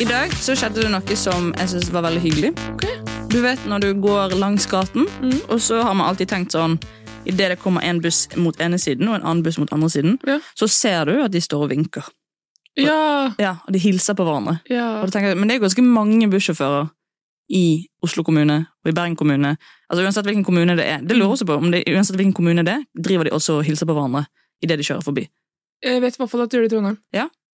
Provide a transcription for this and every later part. I dag så skjedde det noe som jeg synes var veldig hyggelig. Du vet når du går langs gaten, og så har man alltid tenkt sånn Idet det kommer en buss mot ene siden og en annen buss mot andre siden, Ja. så ser du at de står og vinker. Ja, Ja, Og de hilser på hverandre. ja. Og da tenker jeg, men det er ganske mange bussjåfører i Oslo kommune og i Bergen kommune. Altså Uansett hvilken kommune det er. Det Mm. lurer jeg også på om det, uansett hvilken kommune det er, driver de også og hilser på hverandre idet de kjører forbi. Jeg vet i hvert fall at du gjør det i Trondheim.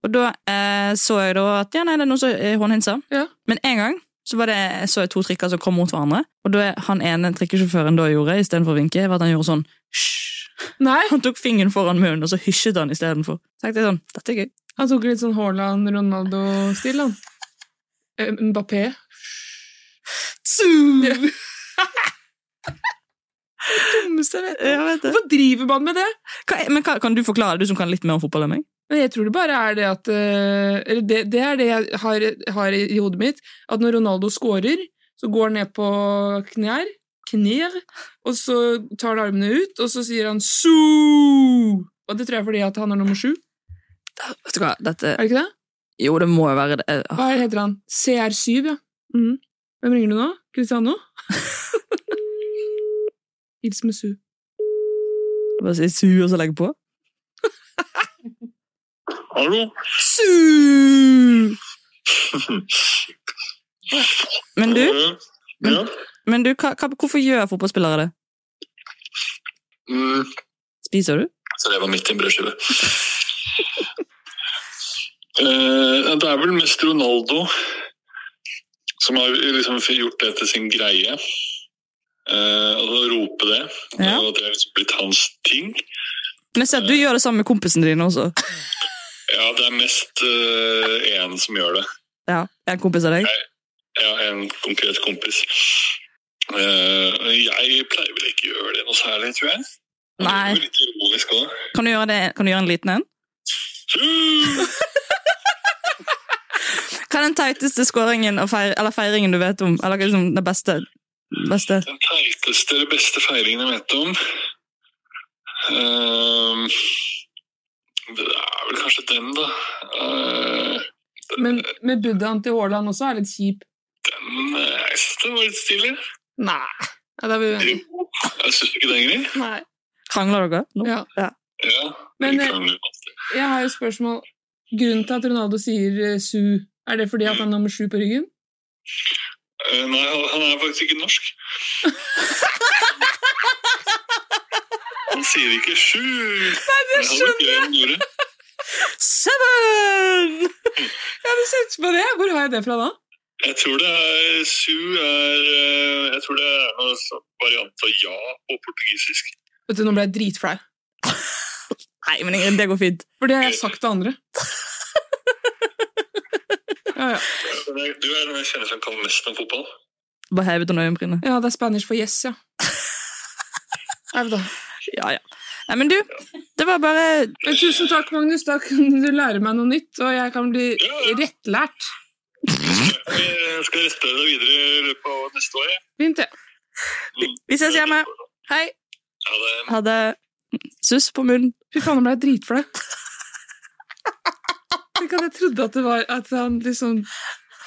Og da eh, så jeg da at ja, nei, det er noen som eh, håndhilser. Ja. Men en gang så, var det, så jeg to trikker som kom mot hverandre. Og da han ene trikkesjåføren da gjorde, istedenfor å vinke, var at han gjorde sånn hysj. Nei, Han tok fingeren foran munnen, og så hysjet han istedenfor. Så tenkte jeg sånn, dette er gøy. han tok litt sånn Haaland, Ronaldo-stil, han. Eh, Mbappé. Ja. Tsu! Dummeste jeg vet. Jeg vet det. Hvorfor driver man med det? Hva, er- men hva, kan du forklare, du som kan litt mer om fotball enn meg? Men jeg tror det bare er det at eh, eller det, det er det jeg har, har i hodet mitt. At når Ronaldo scorer, så går han ned på knær, knær, og så tar han armene ut, og så sier han «Su!» Og det tror jeg er fordi at han er nummer sju. Vet du hva, dette Er det ikke det? Jo, det må jo være det. Eh, Hva er- heter han? CR7, ja. Mhm. Hvem ringer du nå? Cristiano? Hils med Su. Bare si su, og så legge på. Hallo? Su! Men du, Mm. Mm. Ja? men du hva, hva, hvorfor gjør fotballspillere det? Mm. Spiser du? Så det var midt i en brødskive. Eh, det er vel mest Ronaldo som har liksom gjort det til sin greie. Eh, og å rope det. Ja. Og at det er liksom blitt hans ting. Men jeg ser at du gjør det sammen med kompisene dine også. Ja, det er mest eh, én som gjør det. Ja, jeg er en kompis av deg. Ja, en konkret kompis. Eh, jeg pleier vel ikke å gjøre det noe særlig, tror jeg. Nei. Det er jo litt ironisk òg. Kan du gjøre, det, kan du gjøre en liten en? Hva er den teiteste skåringen og feir, eller feiringen du vet om? Eller hva er liksom den beste? beste? Den teiteste eller beste feiringen jeg vet om Ehm, Det er vel kanskje den, da. Eh, Men, men buddhaen til Haaland også er litt kjip. den eh, Jeg syns den var litt stilig. Nei. Ja, da er vi uenige. Jo, jeg syns ikke den greier. Nei. Krangler dere? nå? Ja. Ja, Men, vi eh, krangler alltid. Jeg har jo et spørsmål. Grunnen til at Ronaldo sier eh, Su, er det fordi at han er nummer sju på ryggen? Eh, Nei, han han er faktisk ikke norsk. Han sier ikke 'sju'. Nei, det skjønner jeg. Seven! Ja, du setter på det! Hvor har jeg det fra da? Jeg tror det er 'su' er eh, Jeg tror det er noe sånn variant av 'ja' på portugisisk. Vet du, Nå ble jeg dritflau. Nei, men Ingrid, det går fint. For det har jeg sagt til andre. Ja, ja. Du er den jeg kjenner som kan mest om fotball. Bare hevet under øyenbrynet. ja, det er Spanish for yes, ja. Nei, da. Ja, ja. Nei, men du, det var bare Men tusen takk, Magnus. Da kan du lære meg noe nytt, og jeg kan bli rettlært. Jeg skal rette deg videre i løpet av neste år. jeg. Fint, det. Vi ses hjemme. Hei. Ha det. Ha det. Suss på munnen. Fy faen, nå ble jeg dritflau. Tenk at jeg trodde at det var at han liksom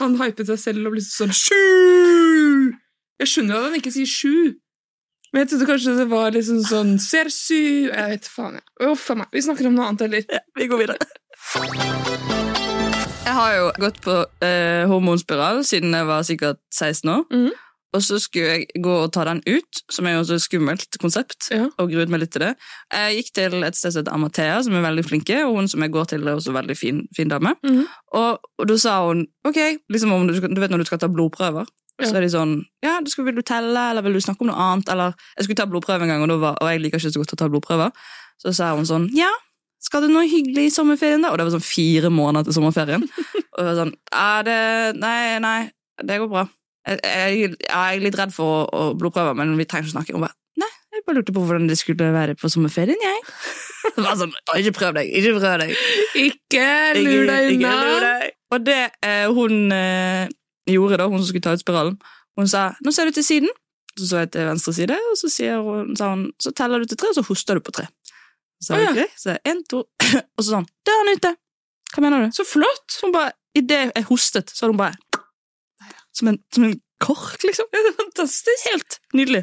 Han hypet seg selv og ble sånn Sju! Jeg skjønner at han ikke sier sju, men jeg trodde kanskje det var liksom sånn Ser sy Jeg vet faen, jeg. Uff a meg. Vi snakker om noe annet, eller? Vi går videre. Jeg har jo gått på eh, hormonspiral siden jeg var sikkert 16 år. Mhm. Og så skulle jeg gå og ta den ut, som er jo også et skummelt konsept. Ja. Og gruet meg litt til det. Jeg gikk til et sted som heter Amathea, som er veldig flinke, og hun som jeg går til, er også en veldig fin, fin dame. Mhm. og, og da sa hun OK, liksom om du, skal- du vet når du skal ta blodprøver? Ja. Så er de sånn Ja, du skal, vil du telle, eller vil du snakke om noe annet? Eller Jeg skulle ta blodprøve en gang, og, da var, og jeg liker ikke så godt å ta blodprøver. Så sa hun sånn Ja, skal du noe hyggelig i sommerferien da? Og det var sånn fire måneder til sommerferien. Og jeg var sånn, «Ja, det, nei, nei, det går bra. Jeg, jeg, jeg er litt redd for å, å blodprøve, men vi trenger ikke snakke. Hun bare, nei, jeg bare lurte på hvordan det skulle være på sommerferien, jeg. Det var sånn, «Å, ikke prøv deg, ikke prøv deg. Ikke lur Ikke- deg ikke lur unna! deg. Og det eh, hun eh, gjorde da, hun som skulle ta ut spiralen, hun sa, nå ser du til siden, så så jeg til venstre side, og så sier hun, sa hun, så teller du til tre, og så hoster du på tre. Så sa Å, jeg, ja. «Ok». så jeg, en, to, og så sa hun, døren ute. Hva mener du? Så flott! Hun bare, Idet jeg hostet, så hadde hun bare som en, som en kork, liksom. Fantastisk. Helt nydelig.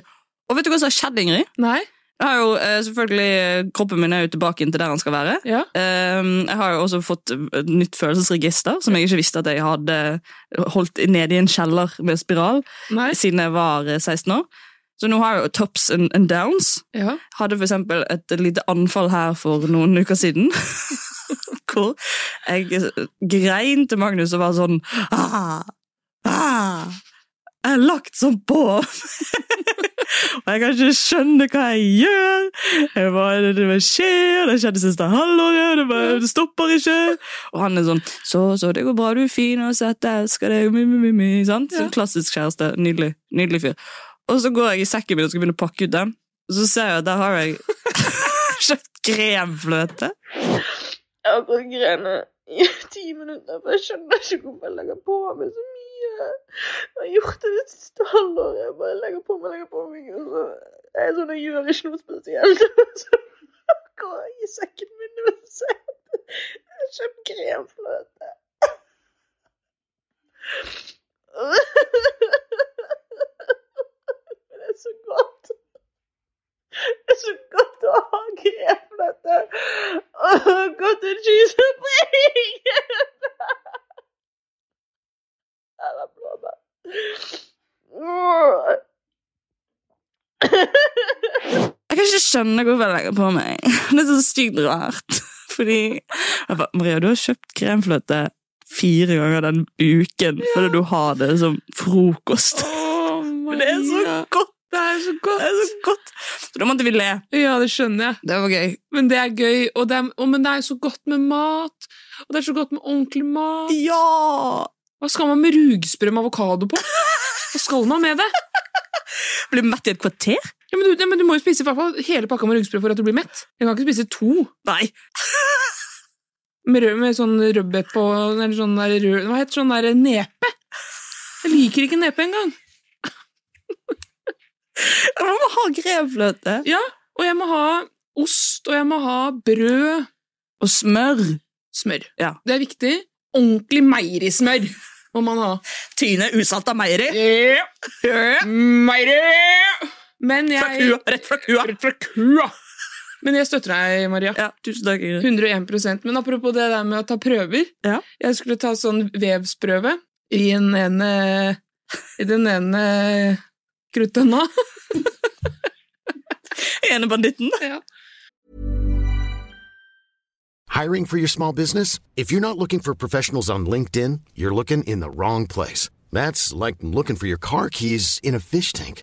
Og vet du hva som har skjedd, Ingrid? Nei. Jeg har jo eh, selvfølgelig, eh, Kroppen min er jo tilbake inn til der han skal være. Ja. Ehm, jeg har jo også fått et nytt følelsesregister, som jeg ikke visste at jeg hadde holdt nede i en kjeller med spiral Nei. siden jeg var eh, 16 år. Så nå har jeg jo tops and, and downs. Ja. Hadde for eksempel et lite anfall her for noen uker siden. Hvor jeg grein til Magnus og var sånn ah, ah, Jeg er lagt som på! og jeg kan ikke skjønne hva jeg gjør! Jeg bare, det bare skjer, det skjedde siste halvåret, det, bare, det stopper ikke! Og han er sånn Så, så, det går bra, du er fin, og sett, jeg elsker deg, mi, mi, mi, mi. Sant? Ja. Så klassisk kjæreste. Nydelig. Nydelig fyr. Og så går jeg i sekken min og skal begynne å pakke ut den. Og så ser jeg at der har jeg kjøpt kremfløte. Jeg har gått grene i ti minutter, for jeg skjønner ikke hvorfor jeg legger på meg så mye. Jeg har gjort det det siste halvåret. Jeg bare legger på meg, legger på meg. Og så jeg er sånn, jeg gjør ikke noe spesielt. Og så går jeg i sekken min og ser at jeg har kjøpt kremfløte. Men Det er så godt. Det er så godt å ha kremfløte. Og cottage cheese og bacon. Eller blåbær. Åh. Jeg kan ikke skjønne hvorfor jeg legger på meg. Det er så sykt rart. Fordi jeg bare, Maria, du har kjøpt kremfløte fire ganger den uken fordi du har det som frokost. Åh, Men det er så Maria. godt! Det er så Det er så godt. godt! Så da måtte vi le. Ja, det skjønner jeg. Det var gøy. Men det er gøy, og det er, og, men det er jo så godt med mat. Og det er så godt med ordentlig mat. Ja! Hva skal man med rugsprø med avokado på? Hva skal man med det? Blir mett i et kvarter? Ja, men, du, ja, men du må jo spise i hvert fall hele pakka med rugsprø for at du blir mett. Du kan ikke spise to Nei. med, rød, med sånn rødbet på eller sånn der rød Hva heter sånn der nepe? Jeg liker ikke nepe engang. Man må ha kremfløte. Og jeg må ha ost, og jeg må ha brød. Og smør. Smør. Ja. Det er viktig. Ordentlig meierismør må man ha. Tyne usalta meieri. Ja, Meieri! Men Fra jeg kua. Rett fra kua. Rett fra kua! Men jeg støtter deg, Maria. Ja, tusen takk, Ingrid. 101 Men apropos det der med å ta prøver. Ja. Jeg skulle ta sånn vevsprøve i den ene, i den ene kruttønna. Ene banditten. Hiring for your small business? If you're not looking for professionals on LinkedIn, you're looking in the wrong place. That's like looking for your car keys in a fish tank.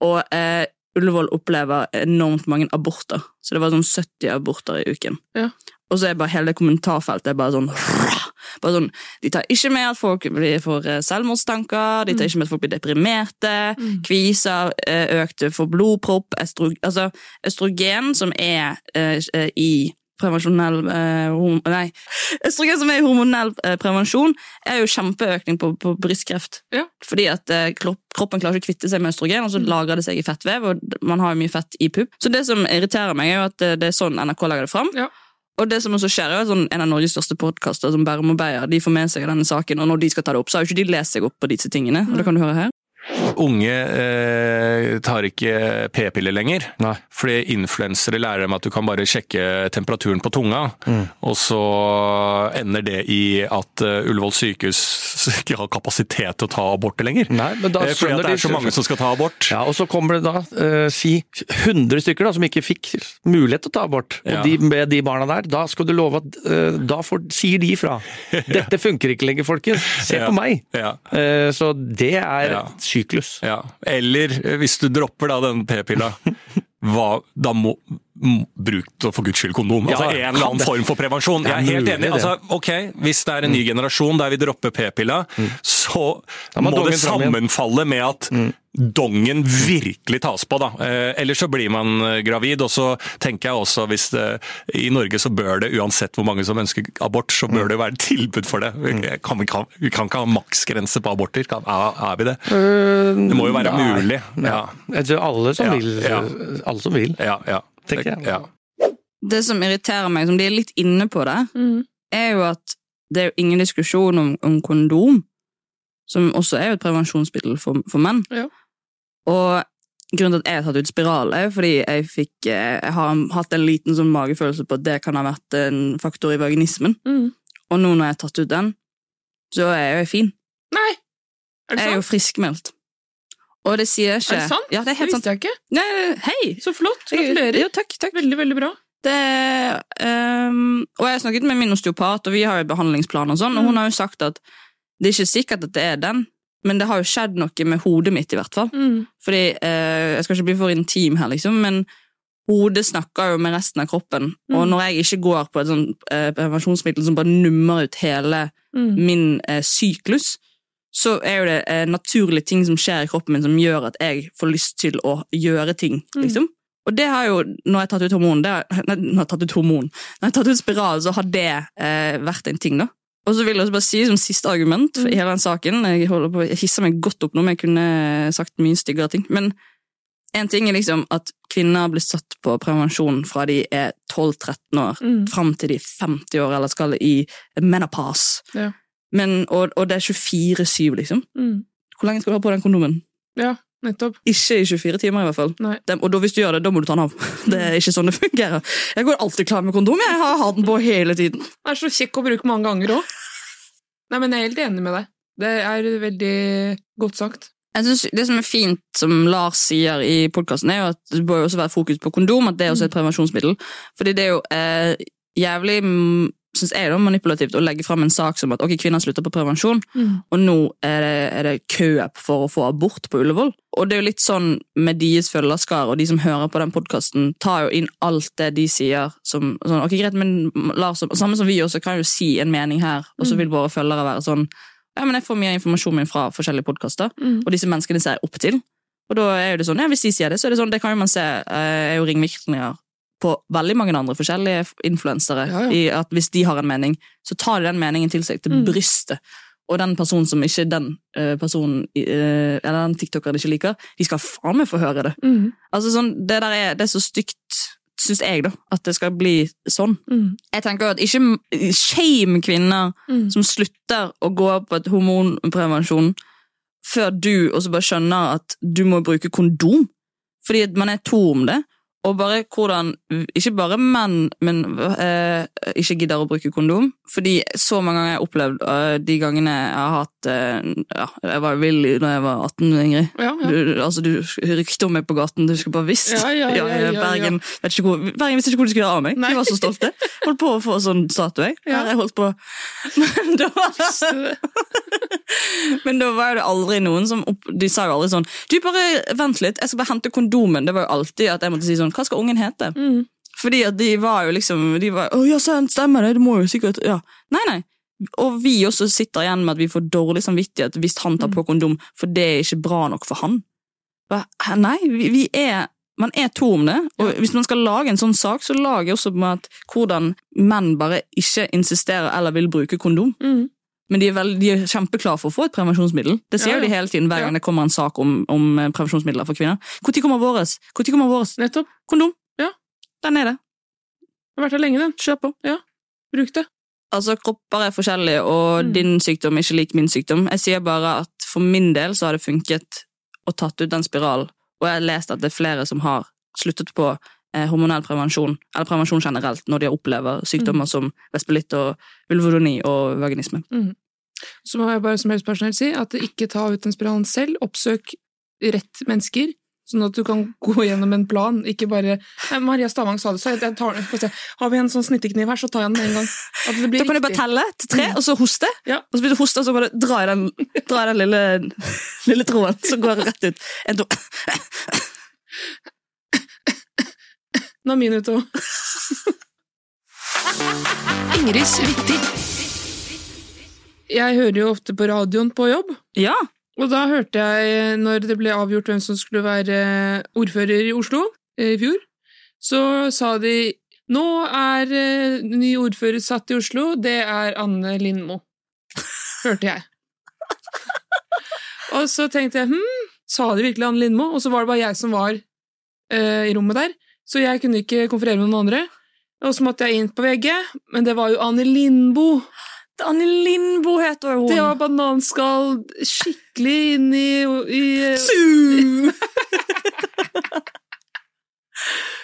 og eh, Ullevål opplever enormt mange aborter. Så det var sånn 70 aborter i uken. Ja. Og så er bare hele kommentarfeltet er bare sånn bare sånn, De tar ikke med at folk blir får eh, selvmordstanker, de tar ikke med at folk blir deprimerte, Mm. kviser, eh, økte for blodpropp, estro, altså østrogen som er eh, eh, i prevensjonell eh, horm, Nei, østrogen som er i hormonell eh, prevensjon, er jo kjempeøkning på, på brystkreft. Ja. Fordi at eh, klo- kroppen klarer ikke å kvitte seg med østrogen, og så lagrer det seg i fettvev, og man har jo mye fett i pupp. Så det som irriterer meg, er jo at eh, det er sånn NRK lager det fram. Ja. Og det som også skjer er jo at sånn, En av Norges største podkaster, som Bærum og Beyer, de får med seg denne saken. Og når de skal ta det opp, så har jo ikke de lest seg opp på disse tingene. Mm. Og det kan du høre her. Sånn Unge eh, tar ikke p-piller lenger. Nei. Fordi influensere lærer dem at du kan bare sjekke temperaturen på tunga. Mm. Og så ender det i at eh, Ullevål sykehus ikke har kapasitet til å ta aborter lenger. Nei, men da Eh, fordi skjønner at det de- er så mange som skal ta abort. Ja, og så kommer det da, eh, si, 100 stykker da, som ikke fikk mulighet til å ta abort. Ja. Og de, med de barna der, da skal du love at eh, da får, sier de ifra. Dette funker ikke lenger, folkens. Se Ja. på meg! Ja. Eh, så det er Ja. syklus. Ja. Eller eh, hvis du dropper da den p-pilla, hva, da må m- Bruk da for guds skyld kondom. Ja, Altså En ja. eller annen Det- form for prevensjon. Det er Jeg er helt mulig, enig. det. Mm. Altså, ok, Hvis det er en ny generasjon der vi dropper p-pilla, så Da må må dongen det fram igjen. Mm. sammenfalle med at dongen virkelig tas på. da. Eh, Ellers så blir man eh, gravid. Og så tenker jeg også hvis det, I Norge så bør det, uansett hvor mange som ønsker abort, så Mm. bør det være tilbud for det. Vi kan, vi kan, vi kan ikke ha maksgrense på aborter. Kan, er, er vi det? Det Det må jo være mulig. Ja. Jeg tror alle som Ja, vil. ja. Alle som vil. Ja, ja. Tenker jeg. Ja. det som irriterer meg, som de er litt inne på det, Mm. er jo at det er jo ingen diskusjon om, om kondom, som også er jo et prevensjonsmiddel for, for menn. Ja. Og grunnen til at jeg har tatt ut spiral, er jo fordi jeg, fikk, eh, jeg har hatt en liten sånn magefølelse på at det kan ha vært en faktor i vaginismen. Mm. Og nå når jeg har tatt ut den, så er jeg jo fin. Nei! Er det Jeg er jo sant? friskmeldt. Og det sier jeg ikke Er det sant? Ja, det er helt det sant. visste jeg ikke. Nei, hei! Så flott. Gratulerer. Jo, takk, takk. Veldig, veldig bra. Det, ehm, og jeg har snakket med min osteopat, og vi har jo behandlingsplan og sånn, og Mm. hun har jo sagt at det er ikke sikkert at det er den, men det har jo skjedd noe med hodet mitt i hvert fall. Mm. Fordi, eh, jeg skal ikke bli for intim her liksom, men hodet snakker jo med resten av kroppen, Mm. og når jeg ikke går på et sånn eh, prevensjonsmiddel som bare nummer ut hele Mm. min eh, syklus, så er jo det eh, naturlige ting som skjer i kroppen min som gjør at jeg får lyst til å gjøre ting, liksom. Og det har jo, når jeg har tatt ut hormon, det har, nei, når jeg har tatt ut hormon, når jeg har tatt ut spiral, så har det eh, vært en ting da. Og så vil jeg også bare si som siste argument for i hele den saken, jeg, holder på, jeg hisser meg godt opp nå, men jeg kunne eh, sagt mye styggere ting, men en ting er liksom at kvinner blir satt på prevensjon fra de er 12-13 år, Mm. fram til de er 50 år, eller skal i menopause. Ja. Men, og, og det er 24-7, liksom. Mm. Hvor lenge skal du ha på den kondomen? Ja, nettopp. Ikke i 24 timer, i hvert fall. Nei. Dem- og da, hvis du gjør det, da må du ta den av. Det er ikke sånn det fungerer. Jeg går alltid klar med kondom. Jeg har hatt den på hele tiden. Den er så kjekk å bruke mange ganger òg. Nei, men jeg er helt enig med deg. Det er veldig godt sagt. Jeg synes Det som er fint, som Lars sier i podkasten, er jo at det bør jo også være fokus på kondom. At det er også et prevensjonsmiddel. Fordi det er jo eh, jævlig mm, synes jeg da, manipulativt å legge fram en sak som at ok, kvinner slutter på prevensjon, og nå er det, er det kø for å få abort på Ullevål. Og det er jo litt sånn med deres følgerskar og de som hører på den podkasten, tar jo inn alt det de sier som sånn, Ok, greit, men Lars, og- samme som vi også, kan jo si en mening her, og så vil våre følgere være sånn Ja, men jeg får mye av informasjonen min fra forskjellige podkaster, Mm. og disse menneskene ser jeg opp til. Og da er jo det sånn, ja, hvis de sier det, så er det sånn, det kan jo man se, eh, er jo ringvirkninger på veldig mange andre forskjellige influensere, Ja, ja. i at hvis de har en mening, så tar de den meningen til seg til Mm. brystet. Og den personen som ikke den eh, personen, i- eh, eller den tiktokeren ikke liker, de skal faen meg få høre det. Mm. Altså sånn, det der er, det er så stygt, synes jeg da, at det skal bli sånn. Mm. Jeg tenker jo at ikke shame kvinner Mm. som slutter å gå på et hormonprevensjon før du også bare skjønner at du må bruke kondom. Fordi at man er to om det. Og bare hvordan Ikke bare menn, men eh, ikke gidder å bruke kondom. Fordi så mange ganger jeg har opplevd eh, de gangene jeg har hatt eh, ja, Jeg var villig da jeg var 18, Ingrid. Ja, ja. Du, altså, du rykte om meg på gaten, du skulle bare visst. Ja, ja, ja, ja, ja. Bergen, Vet ikke hvor, Bergen visste ikke hvor de skulle ha av meg. Nei. De var så stolte. Holdt på å få sånn statue. jeg. Ja. Her jeg holdt på. Men da, men da var det aldri noen som opp, De sa jo aldri sånn Du, bare vent litt, jeg skal bare hente kondomen. Det var jo alltid at jeg måtte si sånn Hva skal ungen hete? Mm. Fordi at de var jo liksom De var, Å ja, sant, stemmer det, det må jo sikkert ja. Nei, nei. Og vi også sitter igjen med at vi får dårlig samvittighet hvis han Mm. tar på kondom, for det er ikke bra nok for han. Hva? Hæ, Nei, vi, vi er man er to om det, og hvis man skal lage en sånn sak, så lager jeg også med at hvordan menn bare ikke insisterer eller vil bruke kondom. Mm. Men de er, vel- de er kjempeklare for å få et prevensjonsmiddel. Det sier Ja, jo de ja. hele tiden hver Ja. gang det kommer en sak om, om eh, prevensjonsmidler for kvinner. Når kommer våres? Når kommer våres? Nettopp. Kondom. Ja. Den er det. Jeg har vært her lenge, den. Kjør på. Bruk det. Altså, Kropper er forskjellige, og Mm. din sykdom er ikke lik min sykdom. Jeg sier bare at for min del så har det funket å tatt ut den spiralen. Og jeg har lest at det er flere som har sluttet på eh, hormonell prevensjon, eller prevensjon generelt, når de opplever Mm. sykdommer som vespelitt og vulvodoni og vaginisme. Så må jeg bare som helsepersonell si at ikke ta ut den spiralen selv. Oppsøk rett mennesker, sånn at du kan gå gjennom en plan. Ikke bare Nei, Maria Stavang sa det, så jeg, jeg tar den. Få se. Har vi en sånn snittekniv her, så tar jeg den med en gang. At det blir Da kan du bare riktig. Mm. telle til tre, og så hoste. Ja. Og så blir du hoste, og så bare dra i den, dra i den lille, lille tråden som går rett ut. En, to. Nå er min ute òg. Ingrids vittig. Jeg hører jo ofte på radioen på jobb, Ja. og da hørte jeg, når det ble avgjort hvem som skulle være eh, ordfører i Oslo eh, i fjor, så sa de nå er eh, ny ordfører satt i Oslo, det er Anne Lindmo. Hørte jeg. Og så tenkte jeg hm, sa de virkelig Anne Lindmo? Og så var det bare jeg som var eh, i rommet der, så jeg kunne ikke konferere med noen andre. Og så måtte jeg inn på VG, men det var jo Anne Lindboe. Anne Lindboe heter hun. Det var bananskall skikkelig inn i, i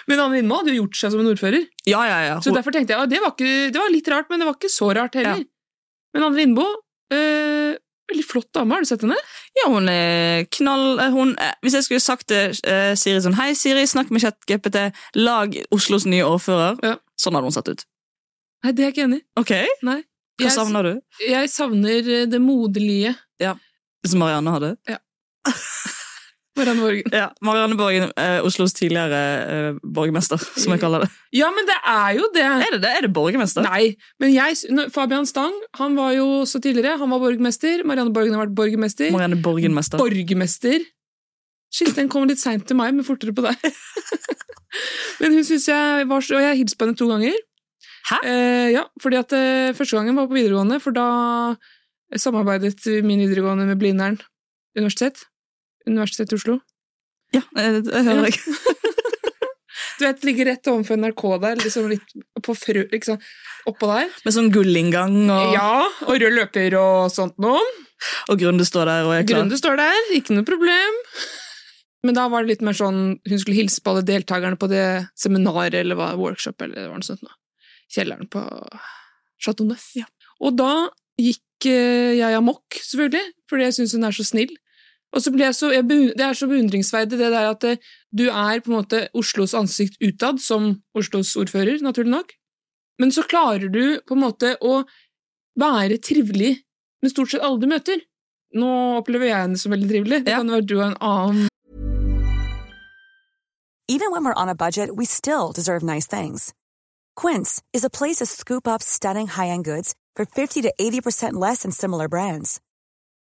Men Anne Lindmo hadde jo gjort seg som en ordfører, Ja, ja, ja. så Hun- derfor tenkte jeg at det, var ikke- det var litt rart, men det var ikke så rart heller. Ja. Men Anne Lindmo eh, Veldig flott dame, har du sett henne? Ja, hun er knall... eh, Hun, eh, hvis jeg skulle sagt til eh, Siri sånn Hei, Siri, snakk med ChatGPT. Lag Oslos nye ordfører. Ja. Sånn hadde hun sett ut. Nei, det er jeg ikke enig i. Ok, Hva Jeg- savner du? Jeg savner eh, det modelige Som Marianne hadde? Marianne Borgen. Ja, Marianne Borgen, eh, Oslos tidligere eh, borgermester, som jeg kaller det. Ja, men det er jo det! Er det det? Er det borgermester? Nei, men jeg, s- nå- Fabian Stang han var jo også tidligere. Han var borgermester. Marianne Borgen har vært borgermester. Marianne Borgenmester. Borgermester. Shit, den kom litt seint til meg, men fortere på deg. men hun synes jeg var så Og jeg hilste på henne to ganger. Hæ? Eh, ja, fordi at eh, Første gangen var på videregående, for da samarbeidet min videregående med Blindern universitet. Universitetet i Oslo. ja, eh, det hører jeg. Du vet, ligger rett overfor NRK der, liksom litt på frø... Liksom, oppå der. Med sånn gullinngang, og, Ja, og rød løper og sånt noe. og Grunde står der og er klar. Grunde står der, ikke noe problem. Men da var det litt mer sånn Hun skulle hilse på alle deltakerne på det seminaret eller hva, workshop eller det var noe sånt. nå. Kjelleren på Chateau Neuf. Og da gikk eh, jeg amok, selvfølgelig, fordi jeg syns hun er så snill. Og så ble jeg så, jeg beund- Det er så beundringsverdig det der at eh, du er på en måte Oslos ansikt utad, som Oslos ordfører, naturlig nok. Men så klarer du på en måte å være trivelig med stort sett alle du møter. Nå opplever jeg henne som veldig trivelig. Det Ja. kan jo være du har en annen Even when we're on a budget, we still deserve nice things. Quince is a place to scoop up stunning high-end goods for 50 to 80% less than similar brands.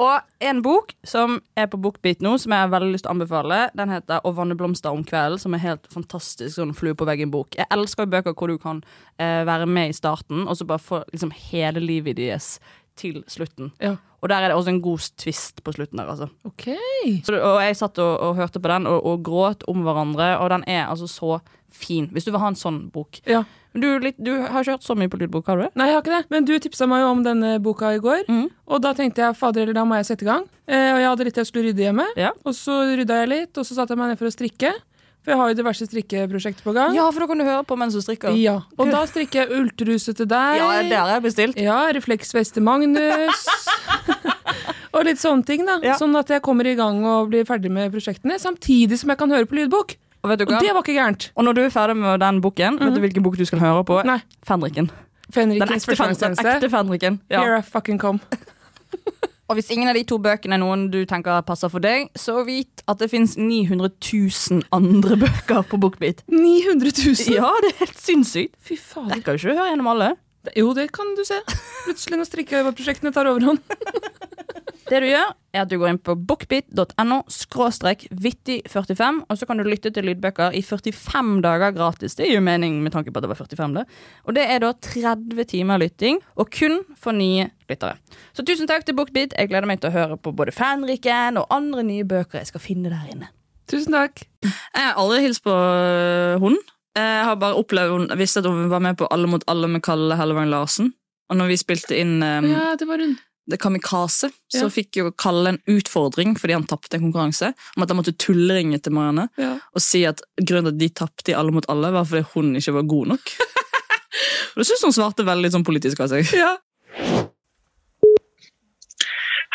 Og en bok som er på Bookbeat nå, som jeg har veldig lyst til å anbefale, den heter 'Å vanne blomster om kvelden', som er helt fantastisk sånn flue på veggen-bok. Jeg elsker jo bøker hvor du kan eh, være med i starten, og så bare få liksom hele livet deres til slutten. Og der er det også en god twist på slutten der, altså. Så, det- og jeg satt og, og hørte på den og, og gråt om hverandre, og den er altså så fin. Hvis du vil ha en sånn bok. Men du, er litt, du har ikke hørt så mye på lydbok, har du det? Nei, jeg har ikke det. Men du tipsa meg jo om denne boka i går. Mm. Og da tenkte jeg fader eller da må jeg sette i gang. Eh, og jeg hadde litt jeg skulle rydde hjemme. Og så rydda jeg litt, og så satte jeg meg ned for å strikke. For jeg har jo diverse strikkeprosjekter på gang. Ja, for da kan du høre på mens du strikker. Ja, Og da strikker jeg ultruse til deg. Ja, det har jeg bestilt. Ja, refleksvest til Magnus. og litt sånne ting, da. Sånn at jeg kommer i gang og blir ferdig med prosjektene, samtidig som jeg kan høre på lydbok. Og, vet du hva? det var ikke gærent. Og når du er ferdig med den boken, vet du hvilken bok du skal høre på? Nei. Fenriken. Den Fenrikens ekte, fen den førstegangstjeneste. ekte Fenriken. Ja. Here I fucking come. Og hvis ingen av de to bøkene er noen du tenker passer for deg, så vit at det fins 900 000 andre bøker på Bookbeat. 900 000? Ja, det er helt sinnssykt. Fy fader. Jeg kan jo ikke høre gjennom alle. Jo, det kan du se. Plutselig når strikkeprosjektene tar overhånd. Det du gjør, er at du går inn på bookbit.no skråstrek vittig45, og så kan du lytte til lydbøker i 45 dager gratis. Det gir jo mening med tanke på at det var 45, det. Og det er da 30 timer lytting, og kun for nye lyttere. Så tusen takk til Bookbit. Jeg gleder meg til å høre på både Fanriken og andre nye bøker jeg skal finne der inne. Tusen takk. Jeg har aldri hilst på øh, hun. Jeg har bare opplevd hun, jeg visste at hun var med på Alle mot alle med Kalle Hellevang Larsen. Og når vi spilte inn ehm, øhm, Ja, det var hun. det Kamikaze, Ja. så fikk jo Kalle en utfordring fordi han tapte en konkurranse, om at han måtte tulleringe til Marianne Ja. og si at grunnen til at de tapte i Alle mot alle, var fordi hun ikke var god nok. Og det syns hun svarte veldig sånn politisk av seg. Ja.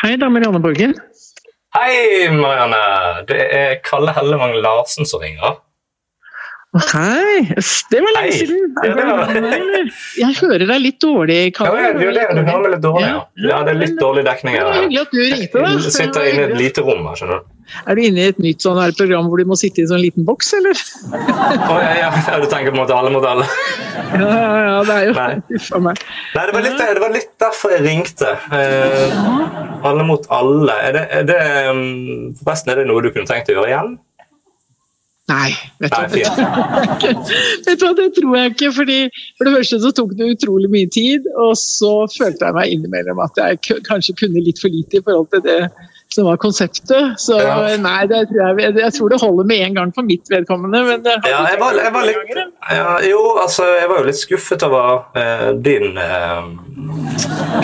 Hei, det er Marianne Borgen. Hei, Marianne. Det er Kalle Hellevang Larsen som ringer. Hei! Yes, Det var lenge Hei. siden. Ja, det var- Jeg hører deg litt dårlig, Ja, Kalle. ja, det er jo det. Du hører meg litt dårlig. Ja, ja det er litt dårlig dekning Det var her. hyggelig at du ringte. da. Jeg sitter inne i et lite rom her, skjønner du. Er du inne i et nytt sånn her program hvor du må sitte i en sånn liten boks, eller? Å, ja, ja, ja, du tenker på en måte alle mot alle. Ja, ja, ja, det er jo Nei. Uff a meg. Nei, det var litt, det var litt derfor jeg ringte. Eh, alle mot alle. Er det, er det, um, forresten, er det noe du kunne tenkt å gjøre igjen? Nei. Nei, fint. Vet du hva, det tror jeg ikke. fordi For det første så tok det utrolig mye tid, og så følte jeg meg innimellom at jeg k- kanskje kunne litt for lite i forhold til det som var konseptet. Så Ja. nei, det tror jeg, jeg tror det holder med én gang for mitt vedkommende. Men det har Ja, jeg var, jeg var litt ja, Jo, altså, jeg var jo litt skuffet over eh, din eh,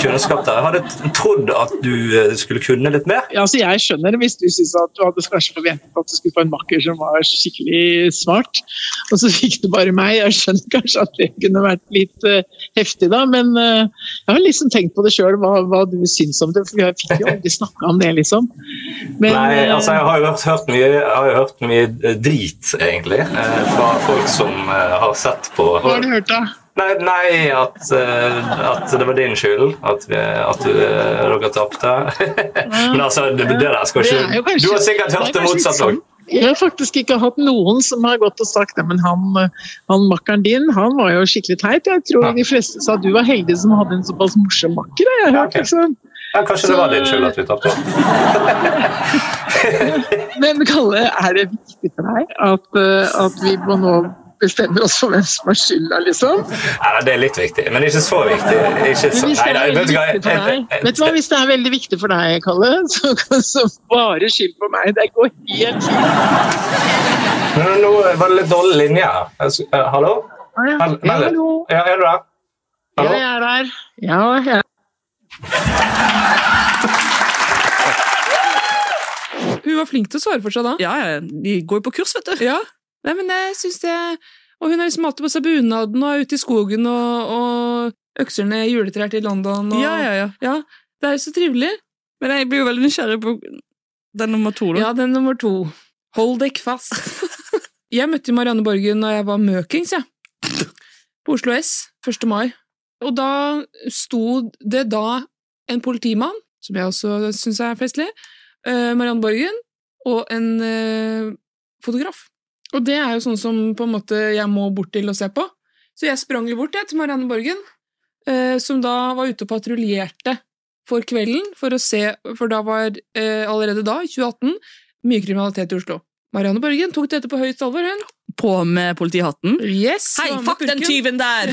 kunnskap der. Jeg hadde t- trodd at du eh, skulle kunne litt mer. Ja, altså jeg skjønner hvis du synes at du hadde kanskje forventet at du skulle få en makker som var skikkelig smart, og så fikk du bare meg. Jeg skjønner kanskje at det kunne vært litt eh, heftig da, men eh, jeg har liksom tenkt på det sjøl, hva, hva du syns om det. For jeg fikk jo aldri snakka om det, liksom. Men, Nei, eh, altså jeg har jo hørt, hørt, mye, jeg har jo hørt mye eh, drit, egentlig, eh, fra folk som eh, har sett på hva har du hørt da? Nei, nei at, eh, at det var din skyld at, vi, at du, eh, dere tapte. Men altså, det, det der skal Det er jo ikke kanskje- Du har sikkert det er hørt det kanskje motsatt litt òg. sånn. Jeg har faktisk ikke hatt noen som har gått og sagt «Nei, men han, han makkeren din, han var jo skikkelig teit. Jeg tror de fleste sa du var heldig som hadde en såpass morsom makker. Jeg har hørt, liksom. Ja, kanskje det var din skyld at vi tapte. Men Kalle, er det viktig for deg at, eh, at vi må nå bestemmer oss for hvem som har skylda, liksom? Nei, det er litt viktig, men ikke så viktig. Ikke så, Men hvis nei, det nei, er vet du veldig hva viktig jeg- for jeg- deg, vet du hva, hvis det er veldig viktig for deg, Kalle, så, så bare skyld på meg. Det går helt fint. Men nå var det litt dårlig linje her. Jeg s- eh, Hallo? Ja, Vel- vel- hallo. Ja, er du der? Ja, Hallo? jeg er der. Ja, jeg er Hun var flink til å svare for seg da. Ja, De går jo på kurs, vet du. Ja. Nei, men jeg synes det Og hun har liksom alltid på seg bunaden og er ute i skogen og, og økser ned juletrær til London. Og, Ja, ja, ja. Det er jo så trivelig. Men jeg blir jo veldig nysgjerrig på den nummer to, da. Ja, den nummer to. Hold deg fast. jeg møtte jo Marianne Borgen da jeg var møkings, jeg. På Oslo S. 1. mai. Og da sto det da en politimann, som jeg også syns er festlig, eh, Marianne Borgen, og en eh, fotograf. Og det er jo sånn som på en måte jeg må bort til å se på. Så jeg sprang jo bort jeg, til Marianne Borgen, eh, som da var ute og patruljerte for kvelden, for å se, for da var eh, allerede da, i 2018, mye kriminalitet i Oslo. Marianne Borgen tok dette på høyt alvor, hun. På med politihatten. Yes, Hei, var med fuck den purken. tyven der!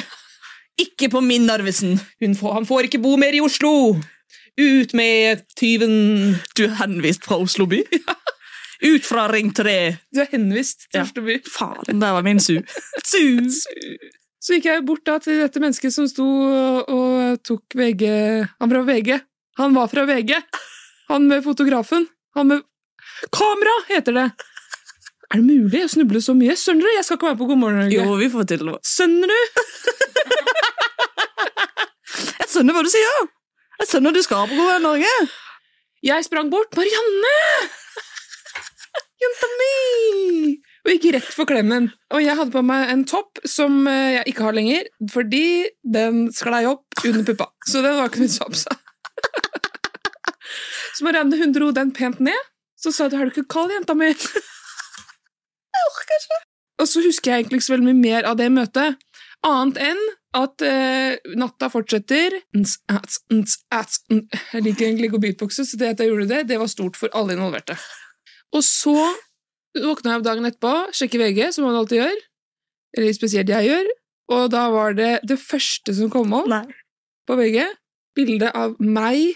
Ikke på min Narvesen! han får ikke bo mer i Oslo! Ut med tyven! Du er henvist fra Oslo by? Ut fra Ring 3! Du er henvist til Oslo by. Faen, der var min su. Su! Så gikk jeg bort da til dette mennesket som sto og, og tok VG Han fra VG. Han var fra VG! Han med fotografen. Han med Kamera, heter det! Er det mulig å snuble så mye? Skjønner du? Jeg skal ikke være på God morgen Norge. Jo, vi får til det. Skjønner du? Jeg skjønner hva du sier! Jeg skjønner du skal på God morgen Norge! Jeg sprang bort. Marianne! Jenta mi! Og gikk rett for klemmen. Og jeg hadde på meg en topp som eh, jeg ikke har lenger, fordi den sklei opp under puppa. Så den var ikke noe topp. Så Så Marianne hun dro den pent ned, så sa du 'er du ikke kald, jenta mi'? Jeg orker ikke. Og så husker jeg egentlig ikke så veldig mye mer av det møtet, annet enn at eh, natta fortsetter. Ns, ats, ns, ats, n- Jeg liker egentlig ikke å beatboxe, så det at jeg gjorde det, det var stort for alle involverte. Og så våkna jeg opp dagen etterpå, sjekker VG, som man alltid gjør, eller spesielt jeg gjør, og da var det det første som kom opp på VG, bildet av meg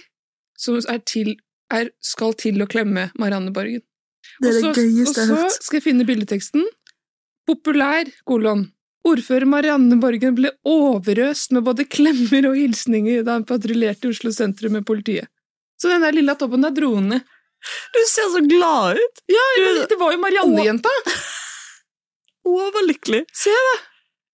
som er til, er, skal til å klemme Marianne Borgen. Det er det Og så- gøyeste jeg har Og hørt. så skal jeg finne bildeteksten. Populær, kolon. Ordfører Marianne Borgen ble overøst med både klemmer og hilsninger da hun patruljerte i Oslo sentrum med politiet. Så den der lilla toppen der dro hun ned. Du ser så glad ut! Ja, men det var jo Marianne-jenta! Overlykkelig. Se, da!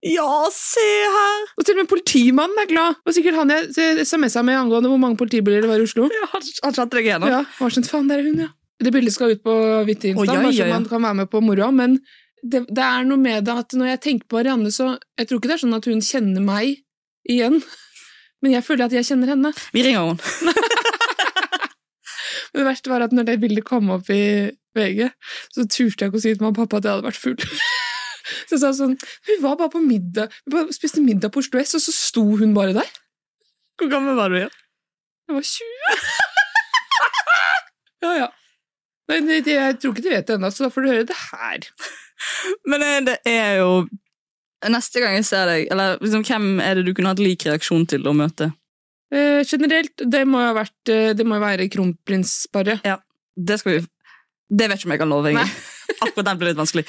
Ja, se her! Og til og med politimannen er glad. Det var sikkert han jeg SMS-a med angående hvor mange politibiler det var i Oslo. Ja, han, han satte deg igjennom. Ja, han var sånn, faen, der er hun, ja. Det bildet skal ut på hvitt Insta, Å, ja, bare så ja, ja. man kan være med på moroa. Men det, det er noe med det at når jeg tenker på Marianne, så Jeg tror ikke det er sånn at hun kjenner meg igjen, men jeg føler at jeg kjenner henne. Vi ringer henne. Men det verste var at når det bildet kom opp i VG, så turte jeg ikke å si til mamma og pappa at jeg hadde vært full. Så jeg sa sånn Hun var bare på middag, hun bare spiste middag på Oslo S, og så sto hun bare der. Hvor gammel var du igjen? Jeg var 20. ja, ja. Nei, nei, det- jeg tror ikke de vet det ennå, så da får du høre det her. Men eh, det er jo Neste gang jeg ser deg, eller liksom, hvem er det du kunne hatt lik reaksjon til å møte? Eh, generelt, det må jo ha vært eh, Det må jo være kronprinsparet. Ja, det skal vi Det vet ikke om jeg kan love, egentlig. Akkurat den ble litt vanskelig.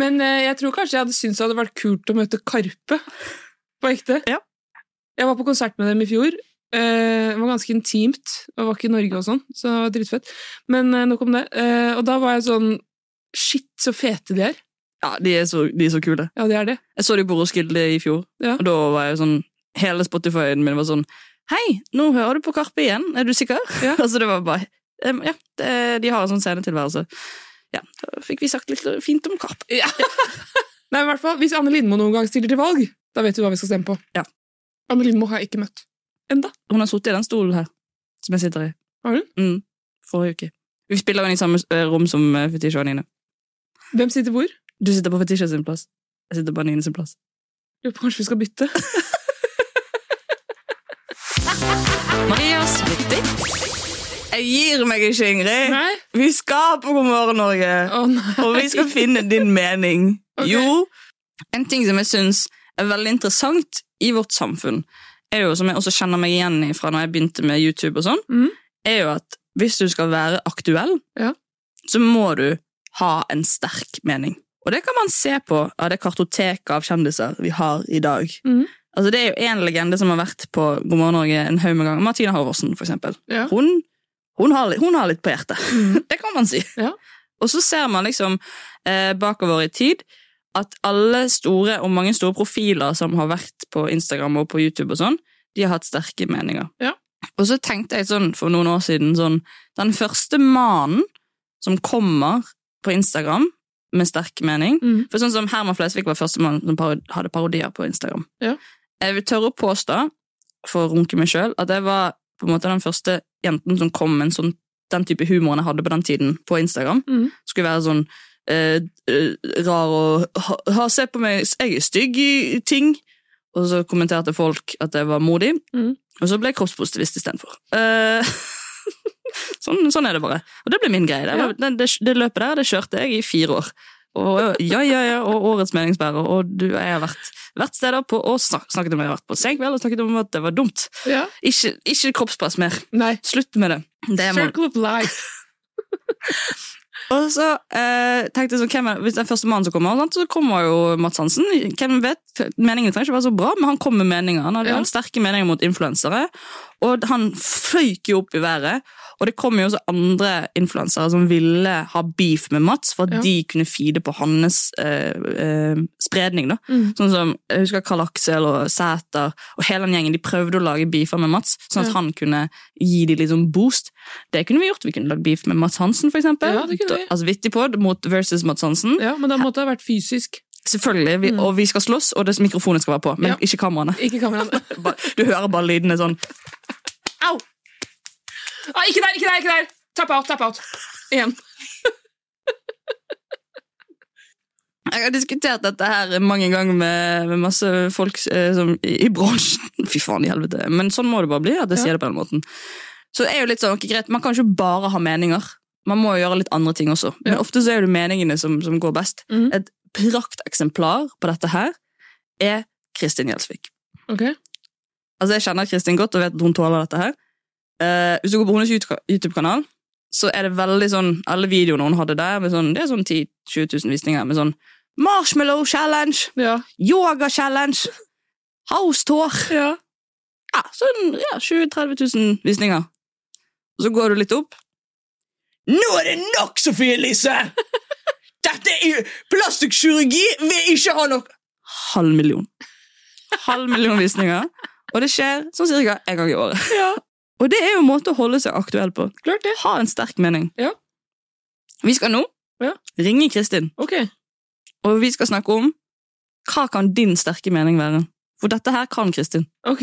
Men eh, jeg tror kanskje jeg hadde syntes det hadde vært kult å møte Karpe. På ekte. Jeg var på konsert med dem i fjor. Eh, det var ganske intimt, og var ikke i Norge og sånn, så det var dritfett. Men eh, nok om det. Eh, og da var jeg sånn Shit, så fete de er. Ja, de er så, de er så kule. Ja, de er det. Jeg så de på Roskilde i fjor, Ja. og da var jeg sånn Hele Spotify-en min var sånn Hei, nå hører du på Karpe igjen, er du sikker? altså, det var bare em, Ja, det, de har en sånn scenetilværelse. Ja, da fikk vi sagt litt fint om Karpe. Nei, i hvert fall, Hvis Anne Lindmo noen gang stiller til valg, da vet du hva vi skal stemme på. Anne Lindmo har jeg ikke møtt. Enda. Hun har sittet i den stolen her, som jeg sitter i. Har hun? Mm, forrige uke. Vi spiller jo i samme eh, rom som eh, Fetisha og Nine. Hvem sitter hvor? Du sitter på Fetisha sin plass. Jeg sitter på Nine sin plass. Lurer på kanskje vi skal bytte. Marias Jeg gir meg ikke, Ingrid. Vi skal på God morgen, Norge. og vi skal finne din mening. Jo, en ting som jeg syns er veldig interessant i vårt samfunn, er jo, som jeg også kjenner meg igjen i fra når jeg begynte med YouTube og sånn, er jo at hvis du skal være aktuell, så må du ha en sterk mening. Og det kan man se på av det kartoteket av kjendiser vi har i dag. Altså, det er jo én legende som har vært på God morgen Norge en haug med ganger. Martina Halvorsen, for eksempel. Ja. Hun, hun, har, li- hun har litt på hjertet. Det kan man si. Og så ser man liksom eh, bakover i tid at alle store og mange store profiler som har vært på Instagram og på YouTube og sånn, de har hatt sterke meninger. Og så tenkte jeg sånn for noen år siden sånn Den første mannen som kommer på Instagram med sterk mening For sånn som Herman Flesvig var første mann som paro- hadde parodier på Instagram. Ja. Jeg vil tørre å påstå for å runke meg sjøl, at jeg var på en måte den første jenten som kom med en sånn, den type humoren jeg hadde på den tiden på Instagram. Mhm. Skulle være sånn eh, eh, rar og ha, ha, Se på meg, jeg er stygg i ting. Og så kommenterte folk at jeg var modig, Mhm. og så ble jeg kroppspositivist istedenfor. Eh, sånn, sånn er det bare. Og det ble min greie. Det, var- det, det, det løpet der det kjørte jeg i fire år. Og, ja, ja, ja, og årets meningsbærer. Og du, jeg har vært, vært steder på og snak, snakket om jeg har vært på senkveld og snakket om at det var dumt. Ja. Ikke, ikke kroppspress mer. Slutt med det. det må- Circle of life. og så eh, tenkte jeg sånn, hvem er, Hvis det er første mann som kommer, sant, så kommer jo Mats Hansen. Hvem vet, Meningene trenger ikke være så bra, men han kom med meninger. Han hadde Ja. han sterke meninger mot influensere, og han føyk jo opp i været. Og det kom jo også andre influensere som ville ha beef med Mats, for at Ja. de kunne feede på hans eh, eh, spredning. da. Mm. Sånn som, Jeg husker Karl Aksel og Sæter og hele den gjengen. De prøvde å lage beefer med Mats, sånn at Ja. han kunne gi dem litt sånn boost. Det kunne vi gjort. Vi kunne lagd beef med Mats Hansen, for eksempel. Ja, det kunne vi. Altså Vittipod mot versus Mats Hansen. Ja, men da måtte det ha vært fysisk. Selvfølgelig. Vi, Og vi skal slåss, og det, mikrofonen skal være på, men Ja. ikke kameraene. Ikke kameraene. Du hører bare lydene sånn. Au! Ah, ikke der, ikke der, ikke der! Tap out, tap out. Igjen. Jeg har diskutert dette her mange ganger med, med masse folk eh, som, i, i bransjen. Fy faen i helvete. Men sånn må det bare bli. at jeg sier det på den måten. Så det er jo litt sånn, ok, greit, Man kan ikke bare ha meninger. Man må jo gjøre litt andre ting også. Men ofte så er det meningene som, som går best. Et prakteksemplar på dette her er Kristin Gjelsvik. Ok. Altså, jeg kjenner Kristin godt og vet at hun tåler dette her. Eh, hvis du går på hennes YouTube- YouTube-kanal, så er det veldig sånn Alle videoene hun hadde der, med sånn, det er sånn 10 000-20 000 visninger, med sånn Marshmallow challenge! Yoga challenge! House tour! Ja. sånn ja, 20 000-30 000 visninger. Og så går du litt opp. Nå er det nok, Sofie Elise! Dette er plastikkirurgi! Vil ikke ha nok Halv million. Halv million visninger. Og det skjer sånn cirka en gang i året. Og det er jo en måte å holde seg aktuell på. Ha en sterk mening. Vi skal nå ringe Kristin. Og vi skal snakke om hva kan din sterke mening være. For dette her kan Kristin. Ok.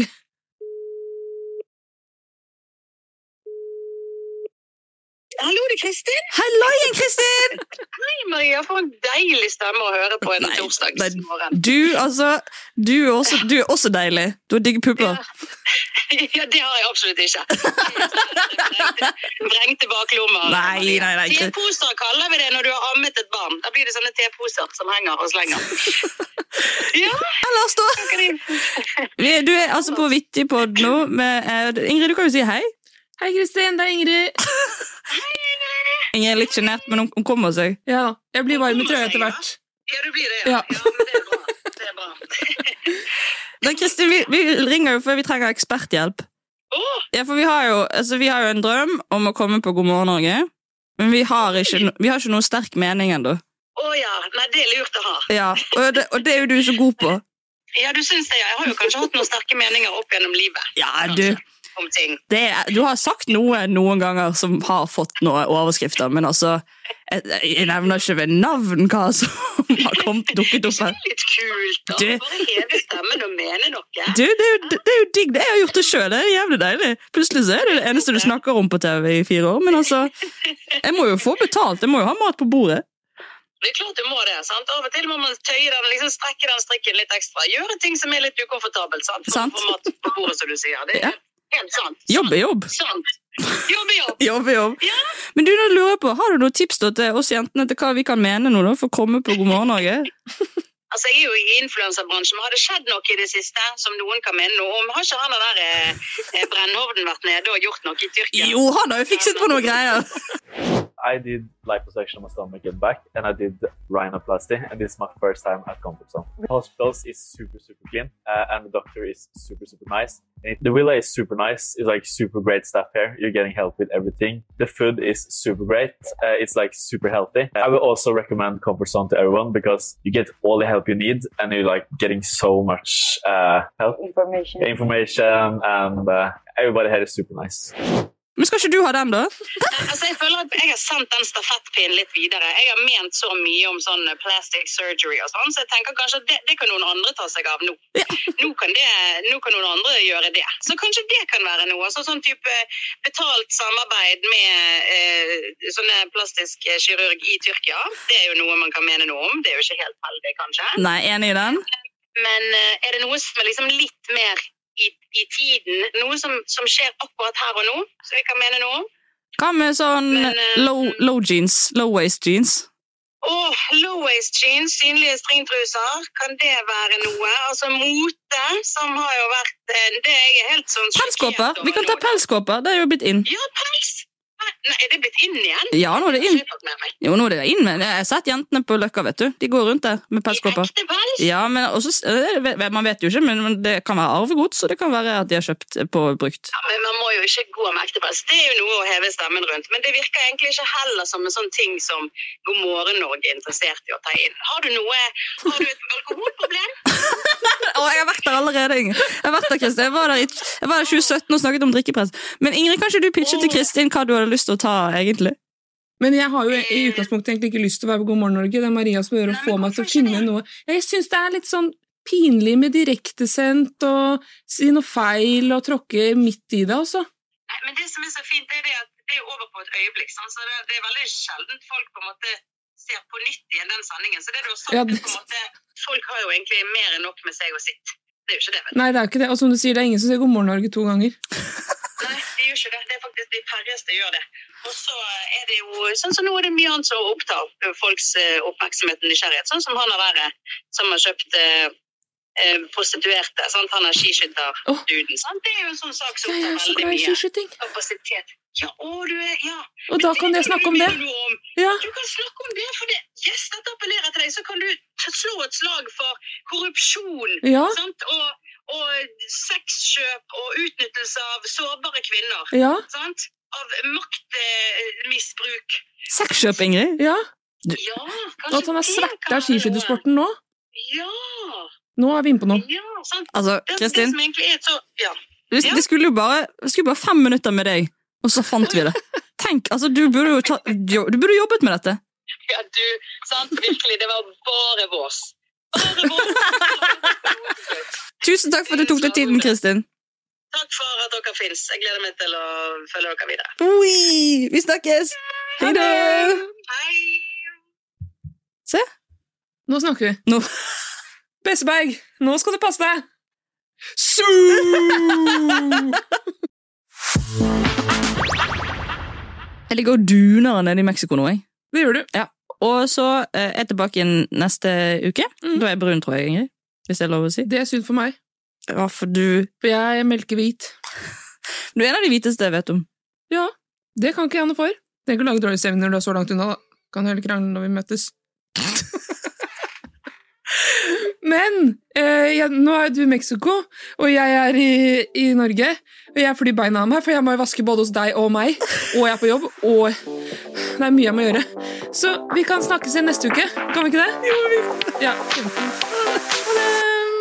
Hallo, det er Kristin. Halloien, Kristin! Hei, Maria. For en deilig stemme å høre på en torsdagsmorgen. Du, altså, du er også, du er også deilig. Du har digge pupper. Ja, det har jeg absolutt ikke. Vrengte- Vrengte baklommer. Nei, Maria. nei, nei, ikke- Teposer kaller vi det når du har ammet et barn. Da blir det sånne teposer som henger og slenger. Ja. Ellers da? Vi- Du er altså på Vittipod nå. Med, eh, Ingrid, du kan jo si hei. Hei, Kristin. Det er Ingrid. Ingrid er litt sjenert, men hun, hun kommer seg. Ja da. Jeg blir varm i trøya etter hvert. Ja, du blir det, ja. Men Kristin, vi, vi ringer jo for vi trenger eksperthjelp. Ja, for vi har, jo, altså, vi har jo en drøm om å komme på God morgen Norge, men vi har ikke, no- vi har ikke noen sterk mening ennå. Å ja. Nei, det er lurt å ha. Ja, og, det- og det er jo du så god på. Ja, du syns det, ja. Jeg har jo kanskje hatt noen sterke meninger opp gjennom livet Ja, du. om ting. det, er- du har sagt noe noen ganger som har fått noen overskrifter, men altså Jeg, jeg nevner ikke ved navn hva som har kommet, dukket opp her. Litt kult, da. Du- Bare heve stemmen og mene noe. Du, det, er jo, det er jo digg. det Jeg har gjort det sjøl. Det er jævlig deilig. Plutselig så er det det eneste du snakker om på TV i fire år. Men altså, jeg må jo få betalt. Jeg må jo ha mat på bordet. Det er klart du må det. sant? Av og til må man tøye den, liksom strekke den strikken litt ekstra. Gjøre ting som er litt ukomfortabelt. sant? For Sant. å få mat på bordet, som du sier. Det er Ja. helt sant. Jobb er jobb. Sant. Jobb er jobb. Jobb er jobb. Men du, da lurer jeg på, har du noen tips da til oss jentene til hva vi kan mene nå da, for å komme på God morgen Norge? Altså, Jeg er jo i influenserbransjen, men har det skjedd noe i det siste som noen kan mene noe om? Har ikke han der eh, eh, Brennhovden vært nede og gjort noe i Tyrkia? Jo, han har jo fikset på noen greier. I did liposuction of my stomach and back, and I did rhinoplasty, and this is my first time at comfort zone. The hospitals is super, super clean, uh, and the doctor is super, super nice. And the villa is super nice. It's like super great stuff here. You're getting help with everything. The food is super great. Uh, it's like super healthy. I would also recommend comfort zone to everyone because you get all the help you need, and you're like getting so much uh, help, Information. information, and uh, everybody here is super nice. Men skal ikke du ha den, da? Nei, Altså, jeg føler at jeg har sendt den stafettpinnen litt videre. Jeg har ment så mye om sånn eh, plastic surgery og sånn, så jeg tenker kanskje at det, det kan noen andre ta seg av nå. Nå, kan det, nå kan noen andre gjøre det. Så kanskje det kan være noe. Altså, sånn type betalt samarbeid med eh, sånne plastisk eh, kirurg i Tyrkia, det er jo noe man kan mene noe om. Det er jo ikke helt heldig, kanskje. Nei, enig i den? Men eh, er det noe som er liksom litt mer i, i tiden? Noe som, som skjer akkurat her og nå, som jeg kan mene noe om? Hva med sånn Men, eh, low, low jeans? Low waist jeans? Åh, low-waist jeans, synlige stringtruser, kan det være noe? Altså mote, som har jo vært eh, Det er jeg helt sånn Pelskåper? Vi kan ta pelskåper. Det er jo blitt inn. Ja, pels! Nei, Nei, er det blitt inn igjen? Ja, nå er det inn. Jeg har ikke fått med meg. Jo, nå er det inn, men jeg har sett jentene på Løkka, vet du. De går rundt der med pelskåper. Ja, men også, eh, det vet- man vet jo ikke, men men det kan være arvegods, og det kan være at de har kjøpt eh, på brukt. Ja, men man må jo ikke gå med ekte pels. Det er jo noe å heve stemmen rundt. Men det virker egentlig ikke heller som en sånn ting som God morgen Norge er interessert i å ta inn. Har du noe Har du et alkoholproblem? Å, jeg har vært der allerede, Ingrid. Jeg har vært der, Kristin. Jeg var der i jeg var der i 2017 og snakket om drikkepress. Men Ingrid, kan ikke du pitche til Kristin hva du hadde lyst til å ta, egentlig? Men jeg har jo i utgangspunktet egentlig ikke lyst til å være på God morgen Norge. Det er Maria som gjør å få meg til å finne noe. Jeg syns det er litt sånn pinlig med direktesendt og si noe feil og tråkke midt i det, altså. Nei, men det som er så fint, det er det at det er over på et øyeblikk. Sant? Så det, det er veldig sjelden folk på en måte ser på nytt igjen den sendingen. Så det du har sagt, Ja, er det- på en måte Folk har jo egentlig mer enn nok med seg og sitt. Det er jo ikke det, vet du. Nei, det er ikke det. Og som du sier, det er ingen som sier God morgen Norge to Nei, ganger. det gjør ikke det. Det er faktisk de færreste gjør det. Og så er det jo sånn som nå er det mye annet som opptar folks eh, oppmerksomhet og nysgjerrighet. Sånn som han har vært, som har kjøpt eh, eh, prostituerte. Sant? Han er skiskytterduden. sant? Det er jo en sånn sak som Jeg er opptar så veldig glad i mye skiskyting. kapasitet. Ja, å, du er, ja. Og Men da kan jeg snakke om det. mener noe om. Ja. Du kan snakke om det, for det, yes, dette appellerer til deg. Så kan du t- slå et slag for korrupsjon Ja. sant? Og, og sexkjøp og utnyttelse av sårbare kvinner. Ja. Sant? Av maktmisbruk. Sexkjøp, Ingrid? Ja. ja, Og kanskje at han har det sverta kan være skiskyttersporten nå. noe. Ja. Nå er vi inne på noe. ja sant? Altså, det, det Kristin? som egentlig er et så, ja. Vi, Ja. det skulle jo bare, det skulle bare fem minutter med deg, og så fant vi det. Tenk, altså, du burde jo ta, jo- du burde jobbet med dette. Ja, du, sant? Virkelig, det var bare vås. Bare vås. Tusen takk for at du tok deg tiden, Kristin. Takk for at dere fins. Jeg gleder meg til å følge dere videre. Oi, vi snakkes! Hei da! Se. Nå snakker vi. Nå. Besseberg, nå skal du passe deg! Jeg ligger og duner nede i Mexico nå, jeg. Det gjør du. Ja. Og så eh, er jeg tilbake igjen neste uke. Mm. Da er jeg brun, tror jeg, Ingrid. Hvis det er lov å si. Det er synd for meg. Ja, for du For jeg er melkehvit. Du er en av de hviteste jeg vet om. Ja, det kan ikke jeg noe for. Det er ikke å lage dårlig stemning når du er så langt unna, da. Kan jo heller krangle når vi møtes. Men eh, jeg, nå er du i Mexico, og jeg er i, i Norge. Og jeg flyr beina av meg, for jeg må jo vaske både hos deg og meg. Og jeg er på jobb, og det er mye jeg må gjøre. Så vi kan snakkes igjen neste uke. Kan vi ikke det? Jo, vi kan. Ja, kjempefint.